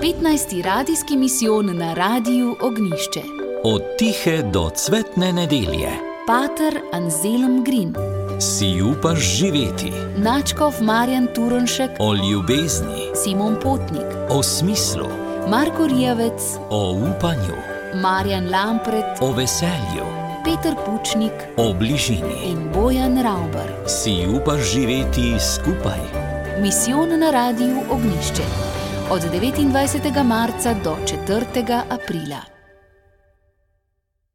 15. radijski misijon na Radiju Ognišče. Od tihe do cvetne nedelje Pater Anselm Green, si upaš živeti Načkov Marjan Turonšek, o ljubezni, Simon Potnik, o smislu, Marko Rjevec, o upanju, Marjan Lampret, o veselju, Peter Pučnik o bližini. in Bojan Rauber. Si upaš živeti skupaj. Misijon na Radiju Ognišče od 29. marca do 4. aprila.